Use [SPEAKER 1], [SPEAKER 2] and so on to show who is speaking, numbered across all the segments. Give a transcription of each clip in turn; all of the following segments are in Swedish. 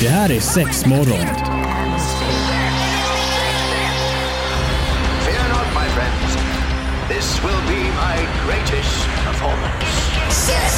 [SPEAKER 1] Det här är sex morgon.
[SPEAKER 2] Fear not, my friends. This will be my greatest performance.
[SPEAKER 3] Six,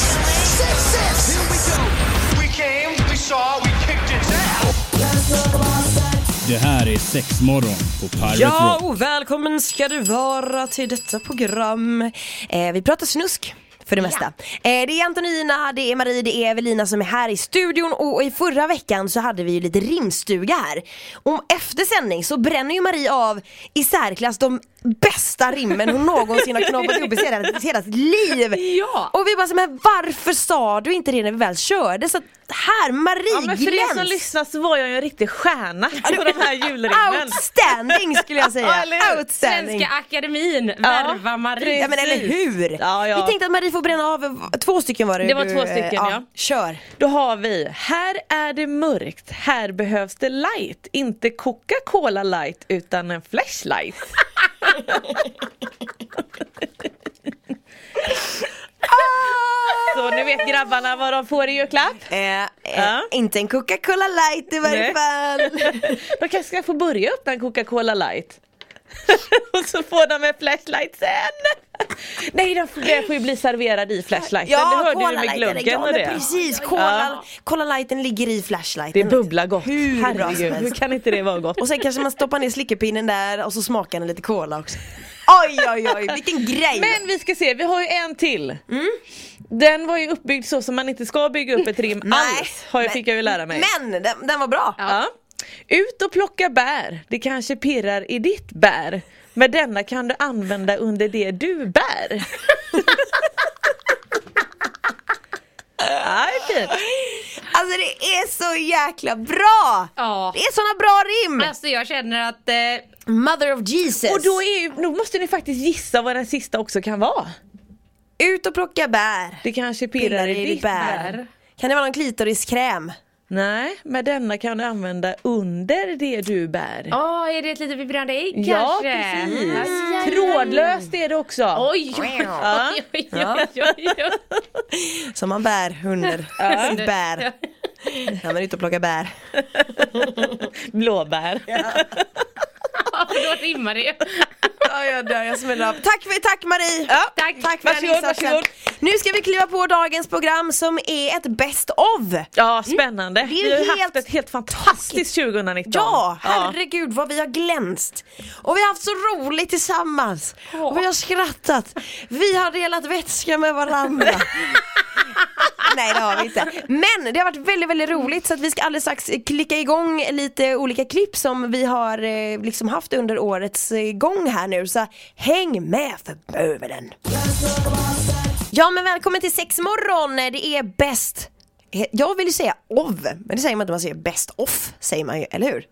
[SPEAKER 3] six, six. Here we go.
[SPEAKER 2] We came, we saw, we kicked its ass.
[SPEAKER 1] Det här är sex morgon på Pirate
[SPEAKER 4] Ja,
[SPEAKER 1] Rock.
[SPEAKER 4] och välkommen ska du vara till detta program. Eh, vi pratar snusk. För det mesta. Eh, det är Antonina, det är Marie, det är Evelina som är här i studion och, och i förra veckan så hade vi ju lite rimstuga här. Och efter sändning så bränner ju Marie av i särklass de bästa rimmen hon någonsin har knoppat ihop i hela- hela sitt liv.
[SPEAKER 5] Ja.
[SPEAKER 4] Och vi bara så, men varför sa du inte det när vi väl körde? Så att här, Marie
[SPEAKER 5] Ja, men för er som
[SPEAKER 4] gläns.
[SPEAKER 5] lyssnar så var jag ju en riktig stjärna på den här julrimmen.
[SPEAKER 4] Outstanding skulle jag säga.
[SPEAKER 5] Ja, eller hur?
[SPEAKER 4] Outstanding.
[SPEAKER 6] Svenska akademin värva Marie.
[SPEAKER 4] Ja men eller hur!
[SPEAKER 5] Ja, ja.
[SPEAKER 4] Vi tänkte att Marie får bränna av, två stycken var det
[SPEAKER 6] Det var
[SPEAKER 4] du,
[SPEAKER 6] två
[SPEAKER 4] eh,
[SPEAKER 6] stycken, ja.
[SPEAKER 4] Kör!
[SPEAKER 5] Då har vi, här är det mörkt, här behövs det light. Inte Coca-Cola light utan en flashlight. Ah! Så nu vet grabbarna vad de får i julklapp.
[SPEAKER 4] Eh, eh,
[SPEAKER 5] Ja.
[SPEAKER 4] Inte en Coca-Cola light i varje
[SPEAKER 5] Nej.
[SPEAKER 4] fall!
[SPEAKER 5] De kanske ska få börja öppna en Coca-Cola light. Och så får de en flashlight sen! Nej, den får- den får ju bli serverad i flashlighten, det hörde du ju med
[SPEAKER 4] Light är det.
[SPEAKER 5] glöggen
[SPEAKER 4] ja,
[SPEAKER 5] och
[SPEAKER 4] men
[SPEAKER 5] det.
[SPEAKER 4] precis! Cola, cola lighten ligger i flashlighten.
[SPEAKER 5] Det bubblar gott,
[SPEAKER 4] Hur bra som
[SPEAKER 5] herregud, hur
[SPEAKER 4] helst.
[SPEAKER 5] kan inte det vara gott?
[SPEAKER 4] Och sen kanske man stoppar ner slickepinnen där och så smakar den lite cola också. Oj oj oj, vilken grej!
[SPEAKER 5] Men vi ska se, vi har ju en till.
[SPEAKER 4] Mm.
[SPEAKER 5] Den var ju uppbyggd så som man inte ska bygga upp ett rim
[SPEAKER 4] Nej,
[SPEAKER 5] alls, har jag,
[SPEAKER 4] men-
[SPEAKER 5] fick jag ju lära mig.
[SPEAKER 4] Men den, den var bra!
[SPEAKER 5] Ja. Ut och plocka bär, det kanske pirrar i ditt bär. Men denna kan du använda under det du bär. Ja, det är fint.
[SPEAKER 4] Alltså det är så jäkla bra!
[SPEAKER 6] Ja.
[SPEAKER 4] Det är såna bra rim!
[SPEAKER 6] Alltså jag känner att eh,
[SPEAKER 4] Mother of Jesus!
[SPEAKER 5] Och då, är ju, då måste ni faktiskt gissa vad den sista också kan vara.
[SPEAKER 4] Ut och plocka bär!
[SPEAKER 5] Det kanske pirrar i ditt bär.
[SPEAKER 4] Kan det vara någon klitoriskräm?
[SPEAKER 5] Nej, men denna kan du använda under det du bär.
[SPEAKER 6] Åh, är det ett litet vibrerande ägg
[SPEAKER 5] Ja,
[SPEAKER 6] kanske?
[SPEAKER 5] precis.
[SPEAKER 6] Mm.
[SPEAKER 5] Trådlöst är det också.
[SPEAKER 6] Oj, oj, oj, oj, oj, oj, oj.
[SPEAKER 4] Som man bär under sitt bär. Ja men ut och plocka bär.
[SPEAKER 5] Blåbär.
[SPEAKER 6] Ja, för då rimmar det ju.
[SPEAKER 4] Ja, jag dör, jag smäller av. Tack, för, tack Marie!
[SPEAKER 6] Tack.
[SPEAKER 4] Tack för den
[SPEAKER 5] Varsågod,
[SPEAKER 4] insatsen.
[SPEAKER 5] varsågod.
[SPEAKER 4] Nu ska vi kliva på dagens program som är ett best of.
[SPEAKER 5] Ja, spännande.
[SPEAKER 4] är ju
[SPEAKER 5] Vi har Mm. ju
[SPEAKER 4] helt
[SPEAKER 5] haft ett helt fantastiskt 2019.
[SPEAKER 4] Ja, herregud vad vi har glänst! Och vi har haft så roligt tillsammans! Och vi har skrattat! Vi har delat vätska med varandra! Nej det har vi inte. Men det har varit väldigt väldigt roligt så att vi ska alldeles strax klicka igång lite olika klipp som vi har eh, liksom haft under årets eh, gång här nu så häng med för bövelen! Ja men välkommen till sexmorgon, det är bäst Eh, jag vill ju säga of, men det säger man inte, man säger best off säger man ju, eller hur?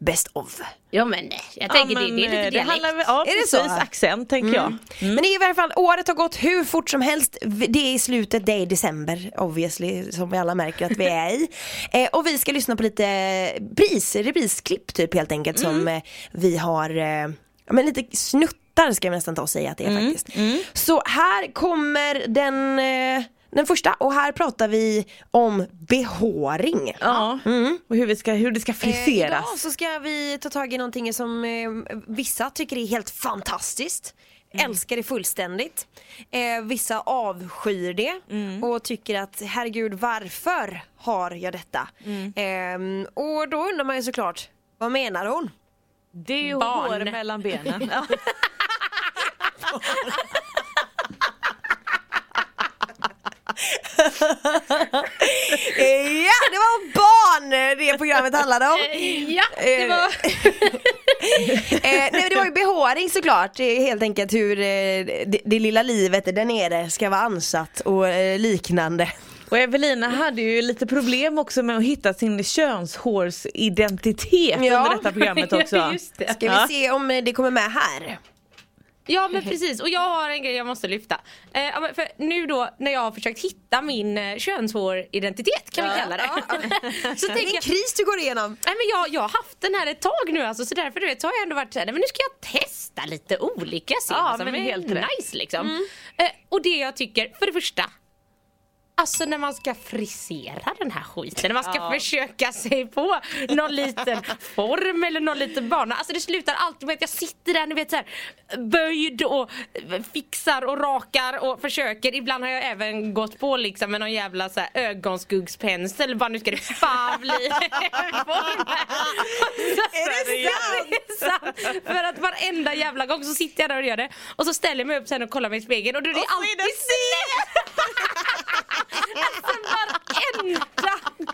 [SPEAKER 4] Best of.
[SPEAKER 6] Ja men eh, jag
[SPEAKER 5] Ja,
[SPEAKER 6] tänker
[SPEAKER 5] men,
[SPEAKER 6] det, Mm. det är lite
[SPEAKER 5] eh,
[SPEAKER 6] dialekt.
[SPEAKER 5] handlar väl- ja,
[SPEAKER 4] Är det
[SPEAKER 5] precis,
[SPEAKER 4] så?
[SPEAKER 5] accent tänker jag.
[SPEAKER 4] Mm. Men det är i varje fall, året har gått hur fort som helst. Vi- Det är i slutet, det är i december obviously, som vi alla märker att vi är i. Eh, och vi ska lyssna på lite bris, reprisklipp typ helt enkelt
[SPEAKER 5] Mm.
[SPEAKER 4] som eh, vi har, eh, ja, men lite snuttar ska jag nästan ta och säga att det är
[SPEAKER 5] Mm,
[SPEAKER 4] faktiskt. Så här kommer den, eh, den första och här pratar vi om behåring.
[SPEAKER 5] Ja.
[SPEAKER 6] Mm.
[SPEAKER 5] Och hur, vi ska, hur det ska
[SPEAKER 4] Eh,
[SPEAKER 5] friseras.
[SPEAKER 4] Idag så ska vi ta tag i någonting som eh, vissa tycker är helt fantastiskt.
[SPEAKER 6] Mm.
[SPEAKER 4] Älskar det fullständigt. Eh, vissa avskyr det
[SPEAKER 6] Mm.
[SPEAKER 4] och tycker att herregud varför har jag detta?
[SPEAKER 6] Mm.
[SPEAKER 4] Ehm, och då undrar man ju såklart, vad menar hon?
[SPEAKER 5] det är ju
[SPEAKER 6] barn.
[SPEAKER 5] hår mellan benen. Ja.
[SPEAKER 4] Eh, ja, det var barn eh, det programmet handlade om.
[SPEAKER 6] Ja, det var...
[SPEAKER 4] Eh, nej, men det var ju behåring såklart, Det är helt enkelt hur eh, det, det lilla livet där nere ska vara ansatt och eh, liknande.
[SPEAKER 5] Och Evelina hade ju lite problem också med att hitta sin könshårsidentitet
[SPEAKER 4] Ja.
[SPEAKER 5] under detta programmet också.
[SPEAKER 6] Just det.
[SPEAKER 4] Ska vi se om eh, det kommer med här.
[SPEAKER 6] Ja men precis och jag har en grej jag måste lyfta. Eh, ja, men för nu då när jag har försökt hitta min eh, könshåridentitet kan vi kalla det. så
[SPEAKER 4] Det är
[SPEAKER 6] tänker
[SPEAKER 4] en
[SPEAKER 6] jag,
[SPEAKER 4] kris du går igenom.
[SPEAKER 6] nej, men jag, jag har haft den här ett tag nu alltså, så därför du vet, så har jag ändå varit såhär, nej men nu ska jag testa lite olika scener
[SPEAKER 5] Ja,
[SPEAKER 6] som
[SPEAKER 5] men
[SPEAKER 6] är
[SPEAKER 5] helt rätt. Mm.
[SPEAKER 6] nice liksom. Eh, och det jag tycker, för det första Alltså när man ska frisera den här skiten, när man ska försöka sig på någon liten form eller någon liten bana. Alltså det slutar alltid med att jag sitter där ni vet så här, böjd och fixar och rakar och försöker. Ibland har jag även gått på liksom med någon jävla så här ögonskuggsspensel. Bara nu ska det fan bli en form här. Alltså,
[SPEAKER 4] Är det sant?
[SPEAKER 6] Det är sant! För att varenda jävla gång så sitter jag där och gör det och så ställer jag mig upp sen och kollar mig i spegeln och då är det
[SPEAKER 5] Och så är det
[SPEAKER 6] alltid snett! alltså varenda gång!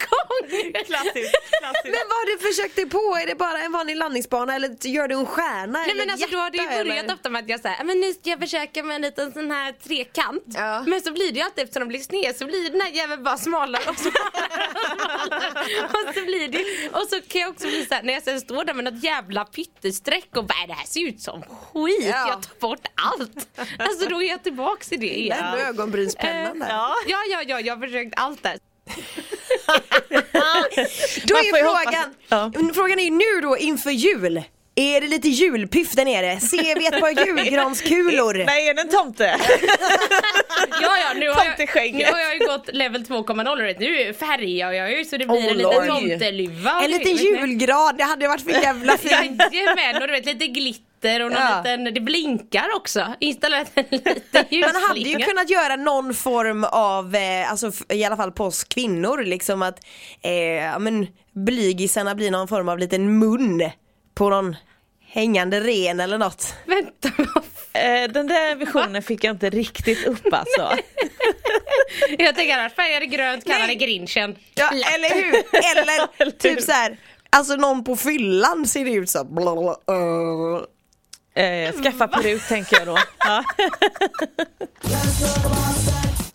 [SPEAKER 5] Klassiskt,
[SPEAKER 4] Men
[SPEAKER 6] Alltså,
[SPEAKER 5] klassiskt.
[SPEAKER 4] vad har du försökt dig på? Är det bara en vanlig landningsbana eller gör du en stjärna?
[SPEAKER 6] Nej
[SPEAKER 4] eller
[SPEAKER 6] men alltså då har det ju
[SPEAKER 4] hjärta,
[SPEAKER 6] börjat
[SPEAKER 4] eller?
[SPEAKER 6] ofta med att jag säger men nu ska jag försöka med en liten sån här trekant.
[SPEAKER 4] Ja.
[SPEAKER 6] Men så blir det ju alltid eftersom de blir sned så blir den här jäveln bara smalare och smalare och smalare. och så blir det och så kan jag också bli såhär när jag sen står där med något jävla pyttestreck och bara det här ser ut som skit.
[SPEAKER 4] Ja.
[SPEAKER 6] Jag tar bort allt. Alltså då är jag tillbaks i det igen.
[SPEAKER 4] Den med ögonbrynspennan där.
[SPEAKER 6] Eh, Ja. ja, ja, ja, jag har försökt allt där.
[SPEAKER 4] Då
[SPEAKER 5] Man får ju
[SPEAKER 4] är frågan, Mm, frågan är ju nu då inför jul. Är det lite julpiff där nere? Ser vi ett par julgranskulor?
[SPEAKER 5] Nej, är det en tomte?
[SPEAKER 6] Ja, ja, nu har, jag,
[SPEAKER 5] Tomteskägget.
[SPEAKER 6] nu har jag ju gått level 2.0 rätt. Nu färgar jag ju så det blir
[SPEAKER 4] Oh,
[SPEAKER 6] en
[SPEAKER 4] Lord.
[SPEAKER 6] liten tomteluva.
[SPEAKER 4] En liten julgran, det hade varit för jävla fint.
[SPEAKER 6] Jajamän, och du vet lite glitter och någon
[SPEAKER 4] Ja.
[SPEAKER 6] liten, det blinkar också. Installerat en liten ljusslinga.
[SPEAKER 4] Man hade ju kunnat göra någon form av, eh, alltså f- i alla fall på oss kvinnor, liksom att eh, ja, men, blygisarna blir någon form av liten mun på någon hängande ren eller något.
[SPEAKER 6] Vänta, vad fan?
[SPEAKER 5] Eh, Den där visionen fick jag inte riktigt upp alltså.
[SPEAKER 6] jag tänker annars färgar det grönt, kallar det grinchen.
[SPEAKER 4] Ja, eller hur? Eller
[SPEAKER 5] Eller
[SPEAKER 4] typ
[SPEAKER 5] hur?
[SPEAKER 4] så här, alltså någon på fyllan ser det ut som. blablabla, eh.
[SPEAKER 5] Eh, Skaffa peruk tänker jag då. Ja.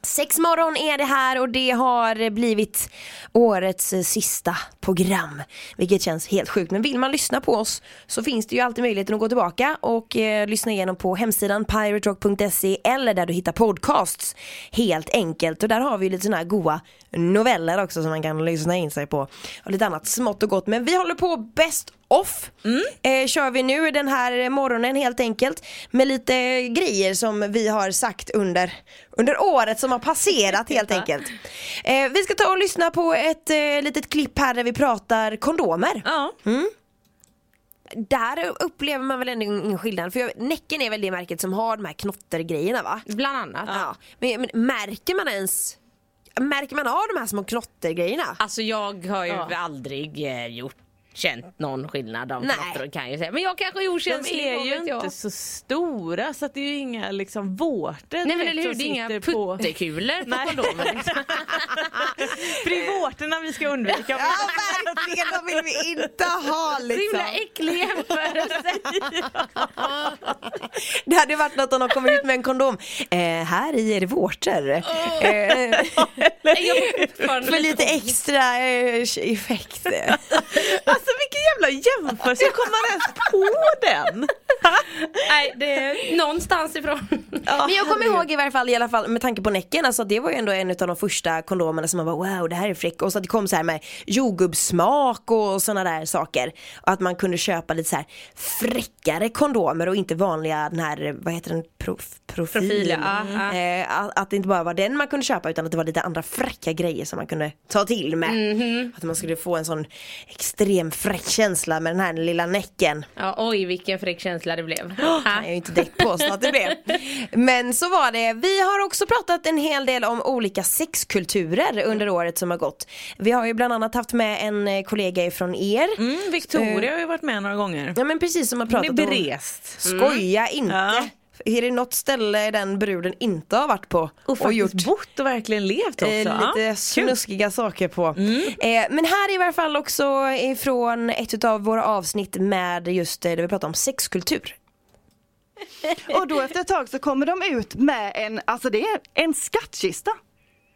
[SPEAKER 4] Sex morgon är det här och det har blivit årets eh, sista program. Vilket känns helt sjukt. Men vill man lyssna på oss så finns det ju alltid möjligheten att gå tillbaka och eh, lyssna igenom på hemsidan piraterock.se eller där du hittar podcasts. Helt enkelt. Och där har vi ju lite sådana här goa noveller också som man kan lyssna in sig på. Och lite annat smått och gott. Men vi håller på bäst off eh, kör vi nu den här morgonen helt enkelt med lite grejer som vi har sagt under, under året som har passerat helt enkelt. Eh, vi ska ta och lyssna på ett eh, litet klipp här där vi pratar kondomer.
[SPEAKER 5] Ja.
[SPEAKER 4] Där upplever man väl ändå ingen skillnad för jag, Näcken är väl det märket som har de här knottergrejerna va?
[SPEAKER 6] Bland annat.
[SPEAKER 4] Ja. Men, men märker man ens Märker man av de här små knottergrejerna?
[SPEAKER 6] Alltså jag har ju
[SPEAKER 5] Ja.
[SPEAKER 6] aldrig eh, gjort känt någon skillnad av
[SPEAKER 4] Nej.
[SPEAKER 6] knattror kan jag ju säga. Men jag kanske är
[SPEAKER 5] De
[SPEAKER 6] okänslig.
[SPEAKER 5] är
[SPEAKER 6] vad
[SPEAKER 5] ju
[SPEAKER 6] vet jag.
[SPEAKER 5] inte så stora så att det är ju inga liksom vårtor
[SPEAKER 6] Nej men
[SPEAKER 5] direkt
[SPEAKER 6] eller hur,
[SPEAKER 5] som
[SPEAKER 6] det är inga
[SPEAKER 5] sitter på-
[SPEAKER 6] puttekulor på kondomen. liksom.
[SPEAKER 5] För det är vårtorna vi ska undvika.
[SPEAKER 4] Ja verkligen, de vill vi inte ha
[SPEAKER 6] Så
[SPEAKER 4] liksom.
[SPEAKER 6] himla äcklig jämförelse.
[SPEAKER 4] Det hade varit något om de kom ut med en kondom. Eh, här i är det vårtor. Eh,
[SPEAKER 6] Nej, jag får fortfarande
[SPEAKER 4] för lite extra eh, effekt.
[SPEAKER 5] Alltså vilken jävla jämförelse, hur kom man ens på den?
[SPEAKER 6] Nej, det är någonstans ifrån.
[SPEAKER 4] Men jag kommer ihåg i varje fall, i alla fall med tanke på Näcken, alltså det var ju ändå en av de första kondomerna som man bara wow det här är fräck och så att det kom så här med jordgubbssmak och sådana där saker. Och att man kunde köpa lite så här fräckare kondomer och inte vanliga den här, vad heter den, prof, profil.
[SPEAKER 6] Profil, ja, ja.
[SPEAKER 4] Eh, att, att det inte bara var den man kunde köpa utan att det var lite andra fräcka grejer som man kunde ta till med.
[SPEAKER 6] Mhm.
[SPEAKER 4] Att man skulle få en sån extrem fräck känsla med den här lilla näcken.
[SPEAKER 6] Ja, oj, vilken fräck känsla det blev.
[SPEAKER 4] kan jag ju inte direkt påstå att det blev. Men så var det. Vi har också pratat en hel del om olika sexkulturer under året som har gått. Vi har ju bland annat haft med en eh, kollega ifrån er.
[SPEAKER 5] Mm, Victoria har ju varit med några gånger.
[SPEAKER 4] Ja men precis som har
[SPEAKER 5] Hon är
[SPEAKER 4] pratat om
[SPEAKER 5] berest. Mm.
[SPEAKER 4] Skoja inte.
[SPEAKER 5] Ja.
[SPEAKER 4] Är det något ställe den bruden inte har varit på
[SPEAKER 5] Och
[SPEAKER 4] och gjort
[SPEAKER 5] faktiskt bott och verkligen levt också.
[SPEAKER 4] Eh,
[SPEAKER 5] Ja,
[SPEAKER 4] lite
[SPEAKER 5] kul. Mm.
[SPEAKER 4] snuskiga saker på. Eh, men här är i varje fall också ifrån ett av våra avsnitt med just eh, där vi pratar om sexkultur.
[SPEAKER 7] Och då efter ett tag så kommer de ut med en, alltså det är en skattkista.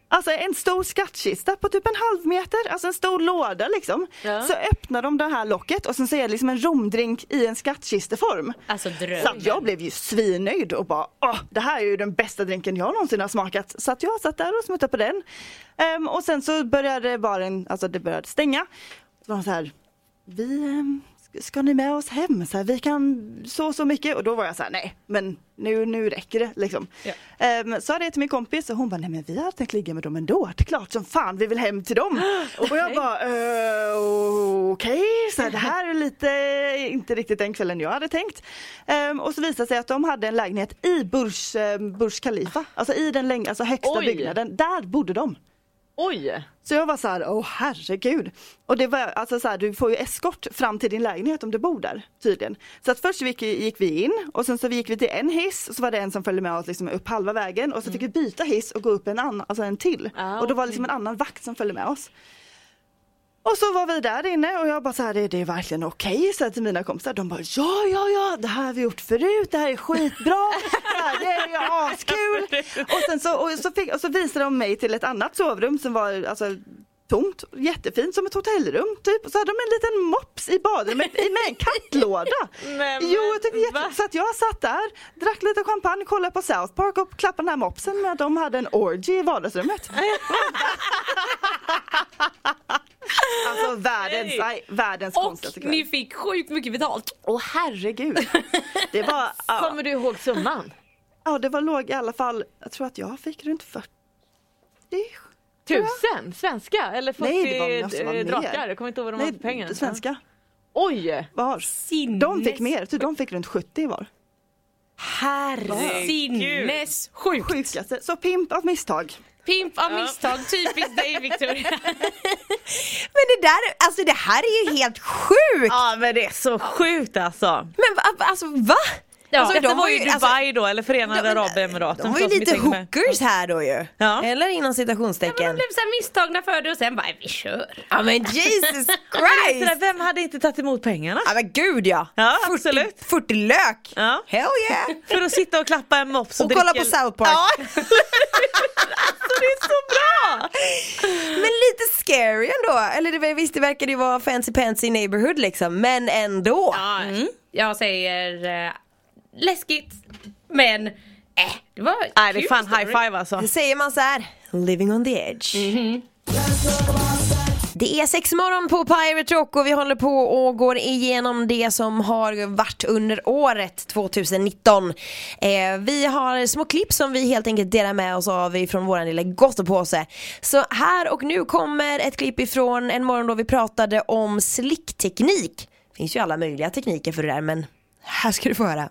[SPEAKER 7] Alltså en stor skattkista på typ en halv meter, alltså en stor låda liksom. Så öppnar de det här locket och sen så är det liksom en romdrink i en skattkisteform.
[SPEAKER 6] Alltså dröm.
[SPEAKER 7] Så att jag blev ju svinnöjd och bara åh, det här är ju den bästa drinken jag någonsin har smakat. Så att jag satt där och smuttade på den. Ehm, och sen så började baren, alltså det började stänga. Så var de så här, vi ehm, "Sk- ska ni med oss hem? Så här, vi kan så så mycket. Och då var jag så här, nej, men nu, nu räcker det liksom. Ehm, sa det till min kompis och hon bara, nej men vi hade tänkt ligga med dem ändå. Det är klart som fan vi vill hem till dem. Och jag bara, eh, okej, så här, det här är lite, inte riktigt den kvällen jag hade tänkt. Ehm, och så visade det sig att de hade en lägenhet i Burj, eh, Burj Khalifa, alltså i den läng- alltså högsta
[SPEAKER 5] Oj.
[SPEAKER 7] byggnaden. Där bodde de.
[SPEAKER 5] Oj!
[SPEAKER 7] Så jag var så här, åh herregud. Och det var alltså så här, du får ju eskort fram till din lägenhet om du bor där tydligen. Så att först gick, gick vi in och sen så gick vi till en hiss och så var det en som följde med oss liksom upp halva vägen och så fick vi byta hiss och gå upp en annan, alltså en till.
[SPEAKER 5] Ah,
[SPEAKER 7] och då var det liksom en annan vakt som följde med oss. Och så var vi där inne och jag bara så här, är det verkligen okej? Så här till mina kompisar, de bara ja, ja, ja, det här har vi gjort förut, det här är skitbra, det här det är ju askul. Och sen så, och så, fick, och så visade de mig till ett annat sovrum som var alltså, tomt, jättefint som ett hotellrum typ. Och så hade de en liten mops i badrummet i- med en kattlåda.
[SPEAKER 5] Nej, men
[SPEAKER 7] jo, jag tyckte
[SPEAKER 5] va?
[SPEAKER 7] jätte... Så att jag satt där, drack lite champagne, kollade på South Park och klappade den här mopsen med att de hade en orgy i vardagsrummet. Alltså världens, nej, världens konstigaste
[SPEAKER 6] Och
[SPEAKER 7] kväll.
[SPEAKER 6] ni fick sjukt mycket betalt.
[SPEAKER 7] Åh herregud. Det var, ja,
[SPEAKER 5] Kommer du ihåg summan?
[SPEAKER 7] ja, det var låg i alla fall, jag tror att jag fick runt 40.
[SPEAKER 5] Tusen svenska? Eller 40
[SPEAKER 7] Nej, det var- måste vara
[SPEAKER 5] eh,
[SPEAKER 7] mer.
[SPEAKER 5] drakar? Jag kommer inte ihåg vad de hade för pengar.
[SPEAKER 7] svenska
[SPEAKER 5] Oj!
[SPEAKER 7] var. De fick mer, typ, de fick runt 70 var.
[SPEAKER 6] Sinnessjukt!
[SPEAKER 7] Sjukaste, så pimp av misstag.
[SPEAKER 6] Pimp av misstag, typiskt dig Victoria.
[SPEAKER 4] Men det där, alltså det här är ju helt sjukt!
[SPEAKER 5] Ja men det är så sjukt alltså.
[SPEAKER 4] Men va- alltså va?
[SPEAKER 6] Ja.
[SPEAKER 4] Alltså,
[SPEAKER 5] Detta var ju
[SPEAKER 4] alltså,
[SPEAKER 5] Dubai då eller Förenade
[SPEAKER 4] de-
[SPEAKER 5] Arabemiraten.
[SPEAKER 4] De var
[SPEAKER 5] för
[SPEAKER 4] ju
[SPEAKER 5] oss som
[SPEAKER 4] lite
[SPEAKER 5] inte hänger med.
[SPEAKER 4] hookers här då ju.
[SPEAKER 5] Ja.
[SPEAKER 4] Eller inom
[SPEAKER 6] Men de
[SPEAKER 4] citationstecken.
[SPEAKER 6] blev så här misstagna för det och sen bara, vi kör.
[SPEAKER 4] Ja men Jesus
[SPEAKER 5] Så där,
[SPEAKER 4] Christ!
[SPEAKER 5] Vem hade inte tagit emot pengarna?
[SPEAKER 4] Ja men gud ja!
[SPEAKER 5] Ja, absolut.
[SPEAKER 4] 40 lök!
[SPEAKER 5] Ja.
[SPEAKER 4] Hell yeah!
[SPEAKER 5] För att sitta och klappa en mops och,
[SPEAKER 4] Och kolla på
[SPEAKER 5] dricka-
[SPEAKER 4] South Park.
[SPEAKER 5] Ja. alltså det är så bra!
[SPEAKER 4] Men lite scary ändå, eller det, var- visst det verkade ju vara fancy pansy neighborhood liksom, men ändå.
[SPEAKER 6] Ja, Jag säger eh, läskigt, men äh, det var
[SPEAKER 5] Nej det är
[SPEAKER 6] kul
[SPEAKER 5] fan
[SPEAKER 6] story.
[SPEAKER 5] high five alltså.
[SPEAKER 4] Säger man så här, living on the edge.
[SPEAKER 5] Mm-hmm.
[SPEAKER 4] Det är sex morgon på Pirate Rock och vi håller på och går igenom det som har varit under året 2019. Eh, vi har små klipp som vi helt enkelt delar med oss av ifrån våran lilla gottepåse. Så här och nu kommer ett klipp ifrån en morgon då vi pratade om slickteknik. Det finns ju alla möjliga tekniker för det där men här ska du få höra.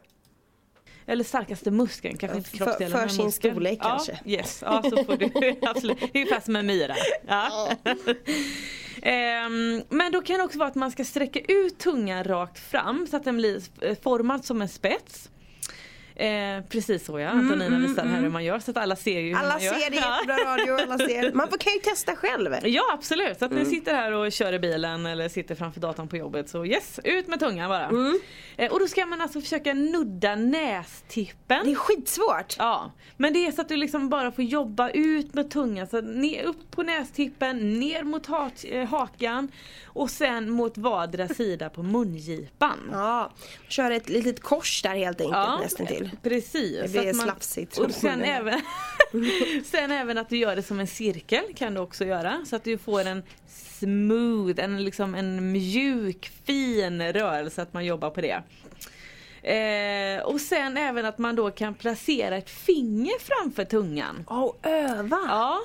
[SPEAKER 5] Eller starkaste muskeln, kanske inte
[SPEAKER 4] För-
[SPEAKER 5] kroppsdelen.
[SPEAKER 4] för
[SPEAKER 5] men
[SPEAKER 4] sin
[SPEAKER 5] muskeln.
[SPEAKER 4] storlek
[SPEAKER 5] ja,
[SPEAKER 4] kanske.
[SPEAKER 5] Yes, ja så får du absolut. Det är ungefär som en myra. Ja. Ehm, men då kan det också vara att man ska sträcka ut tungan rakt fram så att den blir eh, formad som en spets. Eh, precis så ja, Antonina visar här hur man gör så att alla ser ju hur
[SPEAKER 4] Mm, Alla
[SPEAKER 5] man gör.
[SPEAKER 4] ser det,
[SPEAKER 5] Ja.
[SPEAKER 4] jättebra radio, Mm. alla ser. Man får- kan ju testa själv.
[SPEAKER 5] Ja absolut, så att ni sitter här och kör i bilen eller sitter framför datorn på jobbet så yes, ut med tungan bara.
[SPEAKER 4] Mm.
[SPEAKER 5] Eh, och då ska man alltså försöka nudda nästippen.
[SPEAKER 4] Det är skitsvårt.
[SPEAKER 5] Ja, men det är så att du liksom bara får jobba ut med tungan. Så ner, upp på nästippen, ner mot ha eh, hakan och sen mot vardera sida på mungipan.
[SPEAKER 4] Ja, kör ett litet kors där helt enkelt nästan till.
[SPEAKER 5] precis.
[SPEAKER 4] Det
[SPEAKER 5] Så
[SPEAKER 4] blir
[SPEAKER 5] att man-
[SPEAKER 4] slafsigt
[SPEAKER 5] Och
[SPEAKER 4] runt
[SPEAKER 5] sen
[SPEAKER 4] munnen.
[SPEAKER 5] även, sen även att du gör det som en cirkel kan du också göra. Så att du får en smooth, en, liksom en mjuk, fin rörelse, att man jobbar på det. Eh, och sen även att man då kan placera ett finger framför tungan.
[SPEAKER 4] Och öva.
[SPEAKER 5] Ja.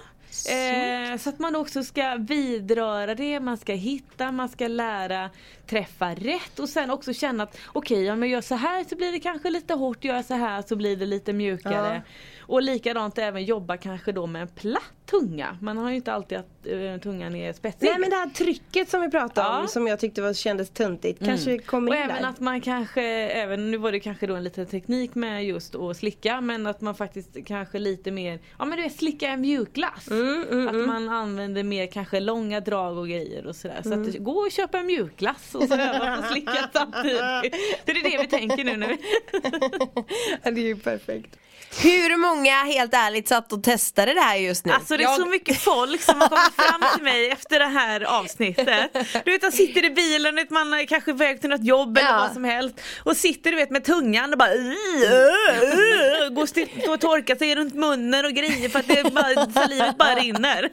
[SPEAKER 5] Eh, så att man också ska vidröra det, man ska hitta, man ska lära träffa rätt och sen också känna att okej om jag gör så här så blir det kanske lite hårt, gör jag så här så blir det lite mjukare. Och likadant även jobba kanske då med en platt tunga. Man har ju inte alltid att eh, tungan är spetsig.
[SPEAKER 4] Nej men det här trycket som vi pratade om
[SPEAKER 5] Ja.
[SPEAKER 4] som jag tyckte var, kändes töntigt kanske kommer
[SPEAKER 5] Och
[SPEAKER 4] in
[SPEAKER 5] även
[SPEAKER 4] där.
[SPEAKER 5] att man kanske, även, nu var det kanske då en liten teknik med just att slicka men att man faktiskt kanske lite mer, ja men du vet slicka en mjukglass.
[SPEAKER 4] Mm,
[SPEAKER 5] att man använder mer kanske långa drag och grejer och sådär. Så
[SPEAKER 4] Mm.
[SPEAKER 5] att gå och köpa en mjukglass och så öva på att slicka samtidigt. Det är det vi tänker nu. nu.
[SPEAKER 4] det är ju perfekt. Hur många helt ärligt satt och testade det här just nu?
[SPEAKER 5] Alltså det är
[SPEAKER 4] jag...
[SPEAKER 5] så mycket folk som har kommit fram till mig efter det här avsnittet. Du vet man sitter i bilen, du vet, man är kanske väg till något jobb
[SPEAKER 4] Ja.
[SPEAKER 5] eller vad som helst och sitter du vet med tungan och bara "Ih, uh, uh", går still- och torkar sig runt munnen och grejer för att det bara, salivet bara rinner.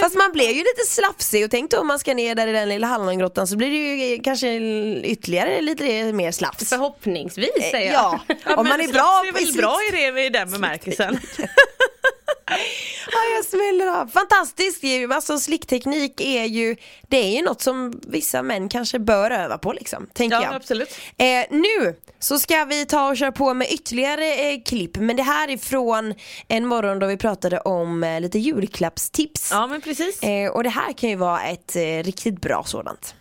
[SPEAKER 4] Fast man blev ju lite slafsig och tänk då om man ska ner där i den lilla hallongrottan så blir det ju kanske ytterligare lite mer slafs. Eh,
[SPEAKER 6] Förhoppningsvis säger jag.
[SPEAKER 4] Ja, om man är bra
[SPEAKER 5] är
[SPEAKER 4] på
[SPEAKER 5] väl
[SPEAKER 4] sitt...
[SPEAKER 5] bra i det i den bemärkelsen.
[SPEAKER 4] Ja, jag smäller av. Fantastiskt ju. Alltså slickteknik är ju, det är ju något som vissa män kanske bör öva på liksom, tänker
[SPEAKER 5] Ja,
[SPEAKER 4] jag.
[SPEAKER 5] absolut.
[SPEAKER 4] Eh, nu så ska vi ta och köra på med ytterligare eh, klipp, men det här är från en morgon då vi pratade om eh, lite julklappstips.
[SPEAKER 5] Ja men precis.
[SPEAKER 4] Eh, och det här kan ju vara ett eh, riktigt bra sådant.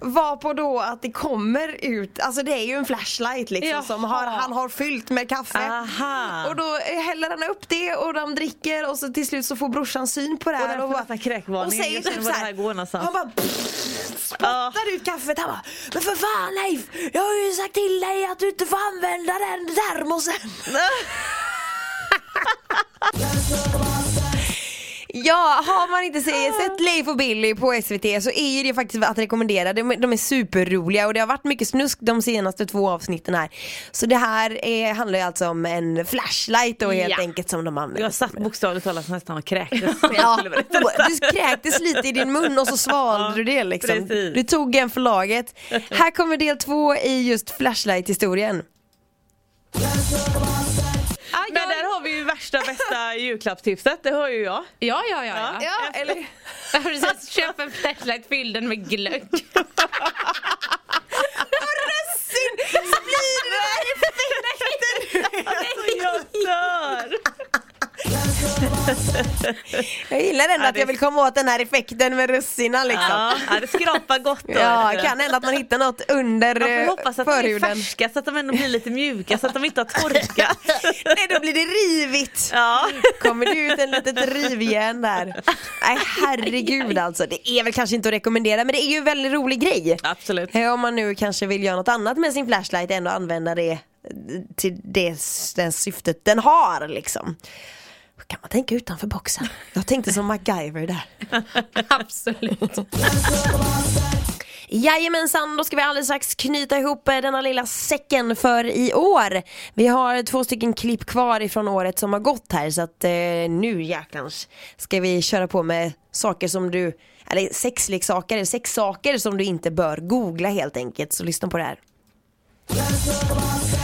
[SPEAKER 4] Var på då att det kommer ut, alltså det är ju en flashlight liksom som har, han har fyllt med kaffe.
[SPEAKER 5] Aha.
[SPEAKER 4] Och då eh, häller han upp det och de dricker och så till slut så får brorsan syn på det här.
[SPEAKER 5] där får nästan kräkvarning.
[SPEAKER 4] och säger
[SPEAKER 5] Jag känner
[SPEAKER 4] typ
[SPEAKER 5] var det
[SPEAKER 4] så här-
[SPEAKER 5] här går någonstans.
[SPEAKER 4] Han bara pff, spottar ut kaffet. Han bara, men för fan Leif, jag har ju sagt till dig att du inte får använda den termosen. Ja, har man inte se- sett Leif och Billy på SVT så är ju det faktiskt att rekommendera. De, de är superroliga och det har varit mycket snusk de senaste två avsnitten här. Så det här är, handlar ju alltså om en flashlight då helt
[SPEAKER 6] Ja.
[SPEAKER 4] enkelt som de använder.
[SPEAKER 5] Jag satt bokstavligt talat nästan och kräktes.
[SPEAKER 4] Ja, du kräktes lite i din mun och så svalde du det liksom.
[SPEAKER 5] precis.
[SPEAKER 4] Du tog en för laget. Här kommer del två i just flashlight-historien.
[SPEAKER 5] Men där har vi ju värsta bästa julklappstipset, det hör ju jag.
[SPEAKER 6] Ja, ja, ja. ja.
[SPEAKER 5] Ja, eller...
[SPEAKER 6] Ja, precis. Köp en flashlight, fyll den med glögg.
[SPEAKER 5] Jag dör!
[SPEAKER 4] Jag gillar ändå
[SPEAKER 5] Ja,
[SPEAKER 4] att
[SPEAKER 5] det-
[SPEAKER 4] jag vill komma åt den här effekten med russina liksom.
[SPEAKER 5] Ja, ja, det skrapar gott. då,
[SPEAKER 4] Ja,
[SPEAKER 5] vet du.
[SPEAKER 4] kan hända att man hittar något under
[SPEAKER 5] Man får
[SPEAKER 4] eh,
[SPEAKER 5] hoppas att de är
[SPEAKER 4] förhuden.
[SPEAKER 5] färska så att de ändå blir lite mjuka så att de inte har torkat.
[SPEAKER 4] Nej då blir det rivigt.
[SPEAKER 5] Ja.
[SPEAKER 4] Kommer det ut en litet rivjärn där. Nej herregud alltså. Det är väl kanske inte att rekommendera men det är ju en väldigt rolig grej.
[SPEAKER 5] Absolut.
[SPEAKER 4] Eh, Om man nu kanske vill göra något annat med sin flashlight ändå använda det eh, till det, det syftet den har liksom. Kan man tänka utanför boxen? Jag tänkte som MacGyver där.
[SPEAKER 6] Absolut.
[SPEAKER 4] Jajamensan, då ska vi alldeles strax knyta ihop eh, denna lilla säcken för i år. Vi har två stycken klipp kvar ifrån året som har gått här så att eh, nu jäklans ska vi köra på med saker som du, eller sexleksaker, eller sexsaker som du inte bör googla helt enkelt. Så lyssna på det här.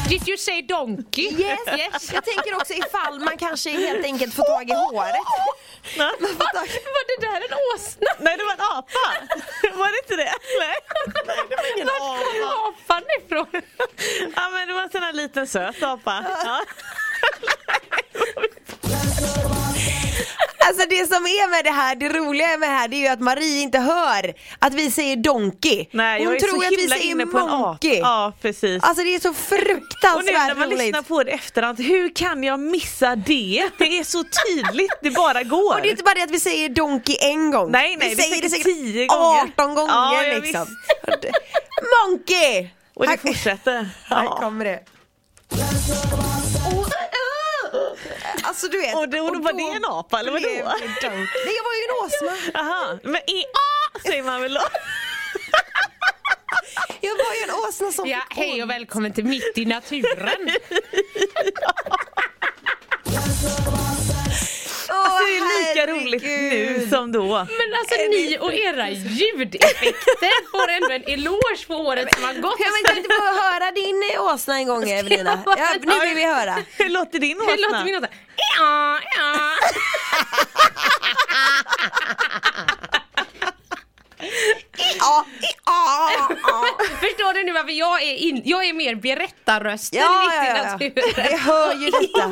[SPEAKER 6] Did you say donkey?
[SPEAKER 4] Yes, yes. Jag tänker också ifall man kanske helt enkelt får tag i håret. Man får tag i-
[SPEAKER 6] Var det där en åsna?
[SPEAKER 5] Nej, det var en apa! Var det inte det? Nej, det var ingen
[SPEAKER 6] Var kom apan ifrån?
[SPEAKER 5] Ja, men det var en sån här liten söt apa. Ja.
[SPEAKER 4] Alltså det som är med det här, det roliga med det här det är ju att Marie inte hör att vi säger donkey.
[SPEAKER 5] Nej,
[SPEAKER 4] Hon
[SPEAKER 5] jag är
[SPEAKER 4] tror
[SPEAKER 5] så
[SPEAKER 4] att vi
[SPEAKER 5] himla
[SPEAKER 4] säger
[SPEAKER 5] inne på en apa.
[SPEAKER 4] monkey.
[SPEAKER 5] Ja, precis.
[SPEAKER 4] Alltså det är så
[SPEAKER 5] Och nu när
[SPEAKER 4] fruktansvärt
[SPEAKER 5] man
[SPEAKER 4] roligt.
[SPEAKER 5] lyssnar på det i efterhand, hur kan jag missa det? Det är så tydligt, det bara går.
[SPEAKER 4] Och det är inte bara det att vi säger donkey en gång.
[SPEAKER 5] Nej, nej,
[SPEAKER 4] vi
[SPEAKER 5] det är
[SPEAKER 4] säger det
[SPEAKER 5] säkert
[SPEAKER 4] säkert
[SPEAKER 5] 10 gånger.
[SPEAKER 4] 18 gånger
[SPEAKER 5] Ja, ja,
[SPEAKER 4] liksom. monkey!
[SPEAKER 5] Och det
[SPEAKER 4] Här-
[SPEAKER 5] fortsätter.
[SPEAKER 4] Här
[SPEAKER 5] Ja.
[SPEAKER 4] kommer det. Alltså du vet.
[SPEAKER 5] Och då- och då var det en apa, eller vadå?
[SPEAKER 4] blev det donkey. Nej jag var ju en åsna.
[SPEAKER 5] Aha, men i a säger man väl då?
[SPEAKER 4] Jag var ju en åsna som
[SPEAKER 6] Ja, hej och välkommen till Mitt i naturen.
[SPEAKER 4] Åh,
[SPEAKER 5] alltså, Det är ju lika roligt
[SPEAKER 4] herregud.
[SPEAKER 5] nu som då.
[SPEAKER 6] Men alltså ni och era ljudeffekter får ändå en eloge för året som har gått.
[SPEAKER 4] Ja, men kan inte få höra din eh, åsna en gång Evelina?
[SPEAKER 6] jag
[SPEAKER 4] Ja, nu vill vi höra.
[SPEAKER 5] Hur låter din
[SPEAKER 6] Hur låter
[SPEAKER 5] åsna?
[SPEAKER 6] min låta? Ja, ja.
[SPEAKER 4] Ja, ah. ja, ja.
[SPEAKER 6] Förstår du nu varför jag är, in, jag är mer berättarrösten
[SPEAKER 4] Ja,
[SPEAKER 6] i Mitt i
[SPEAKER 4] ja, ja.
[SPEAKER 6] naturen?
[SPEAKER 4] Vi hör ju detta.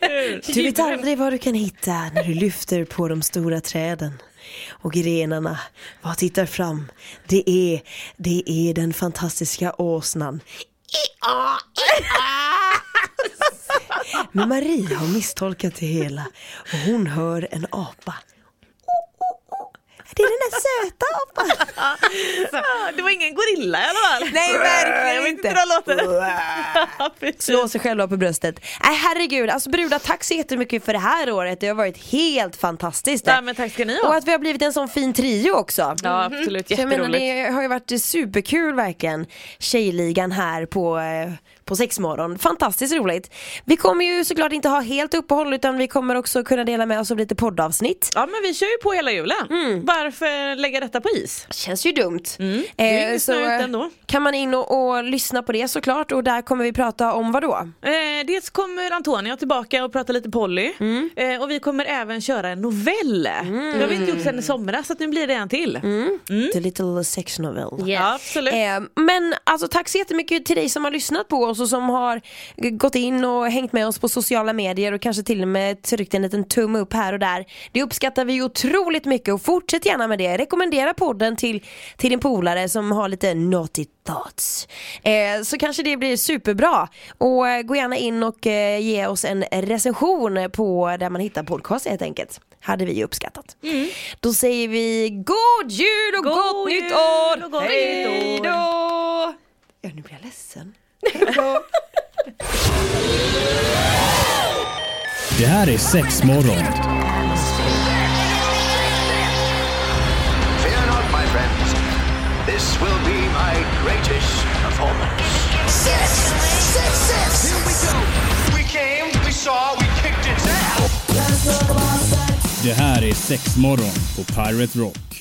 [SPEAKER 6] Hur?
[SPEAKER 4] Du vet aldrig vad du kan hitta när du lyfter på de stora träden. Och grenarna, vad tittar fram? Det är, det är den fantastiska åsnan. Men Marie har misstolkat det hela och hon hör en apa. Det är den där söta apa.
[SPEAKER 5] Det var ingen gorilla i alla fall.
[SPEAKER 4] Nej
[SPEAKER 5] Jag
[SPEAKER 4] verkligen
[SPEAKER 5] vet inte
[SPEAKER 4] inte.
[SPEAKER 5] hur den låter. Ja, precis.
[SPEAKER 4] Slå sig själva på bröstet. Nej herregud, alltså brudar tack så jättemycket för det här året. Det har varit helt fantastiskt.
[SPEAKER 5] Ja, men tack ska ni ha.
[SPEAKER 4] Och att vi har blivit en sån fin trio också. Mm-hmm.
[SPEAKER 5] Ja absolut,
[SPEAKER 4] Så jag menar
[SPEAKER 5] jätteroligt.
[SPEAKER 4] det har ju varit superkul verkligen. Tjejligan här på eh, på sexmorgon. Fantastiskt roligt. Vi kommer ju såklart inte ha helt uppehåll utan vi kommer också kunna dela med oss av lite poddavsnitt.
[SPEAKER 5] Ja men vi kör ju på hela julen.
[SPEAKER 4] Mm.
[SPEAKER 5] Varför lägga detta på is?
[SPEAKER 4] Känns ju dumt.
[SPEAKER 5] Det är ju
[SPEAKER 4] Eh,
[SPEAKER 5] inget
[SPEAKER 4] så,
[SPEAKER 5] snöigt ändå.
[SPEAKER 4] kan man in och, och lyssna på det såklart och där kommer vi prata om vad då?
[SPEAKER 5] Eh, dels kommer Antonia tillbaka och prata lite Polly. Eh, och vi kommer även köra en novell. Det har vi inte gjort sedan i somras så att nu blir det en till.
[SPEAKER 4] The little sex novel.
[SPEAKER 5] Mm. Ja, absolut.
[SPEAKER 4] Eh, men alltså tack så jättemycket till dig som har lyssnat på oss och som har g- gått in och hängt med oss på sociala medier och kanske till och med tryckt en liten tumme upp här och där. Det uppskattar vi otroligt mycket och fortsätt gärna med det. Rekommendera podden till, till din polare som har lite naughty thoughts. Eh, så kanske det blir superbra. Och eh, gå gärna in och eh, ge oss en recension på där man hittar podcast helt enkelt. Hade vi uppskattat. Då säger vi god jul och
[SPEAKER 5] Mm. God
[SPEAKER 4] gott
[SPEAKER 5] jul
[SPEAKER 4] nytt år!
[SPEAKER 5] och gott nytt
[SPEAKER 4] Hej
[SPEAKER 5] år!
[SPEAKER 4] då! Ja, nu blir jag ledsen.
[SPEAKER 1] Det här är sex morgon.
[SPEAKER 2] Fear not, my friends. This will be my greatest performance.
[SPEAKER 3] Six, six, six. Here we go.
[SPEAKER 2] We came, we saw, we kicked its ass.
[SPEAKER 1] Det här är sex morgon på Pirate Rock.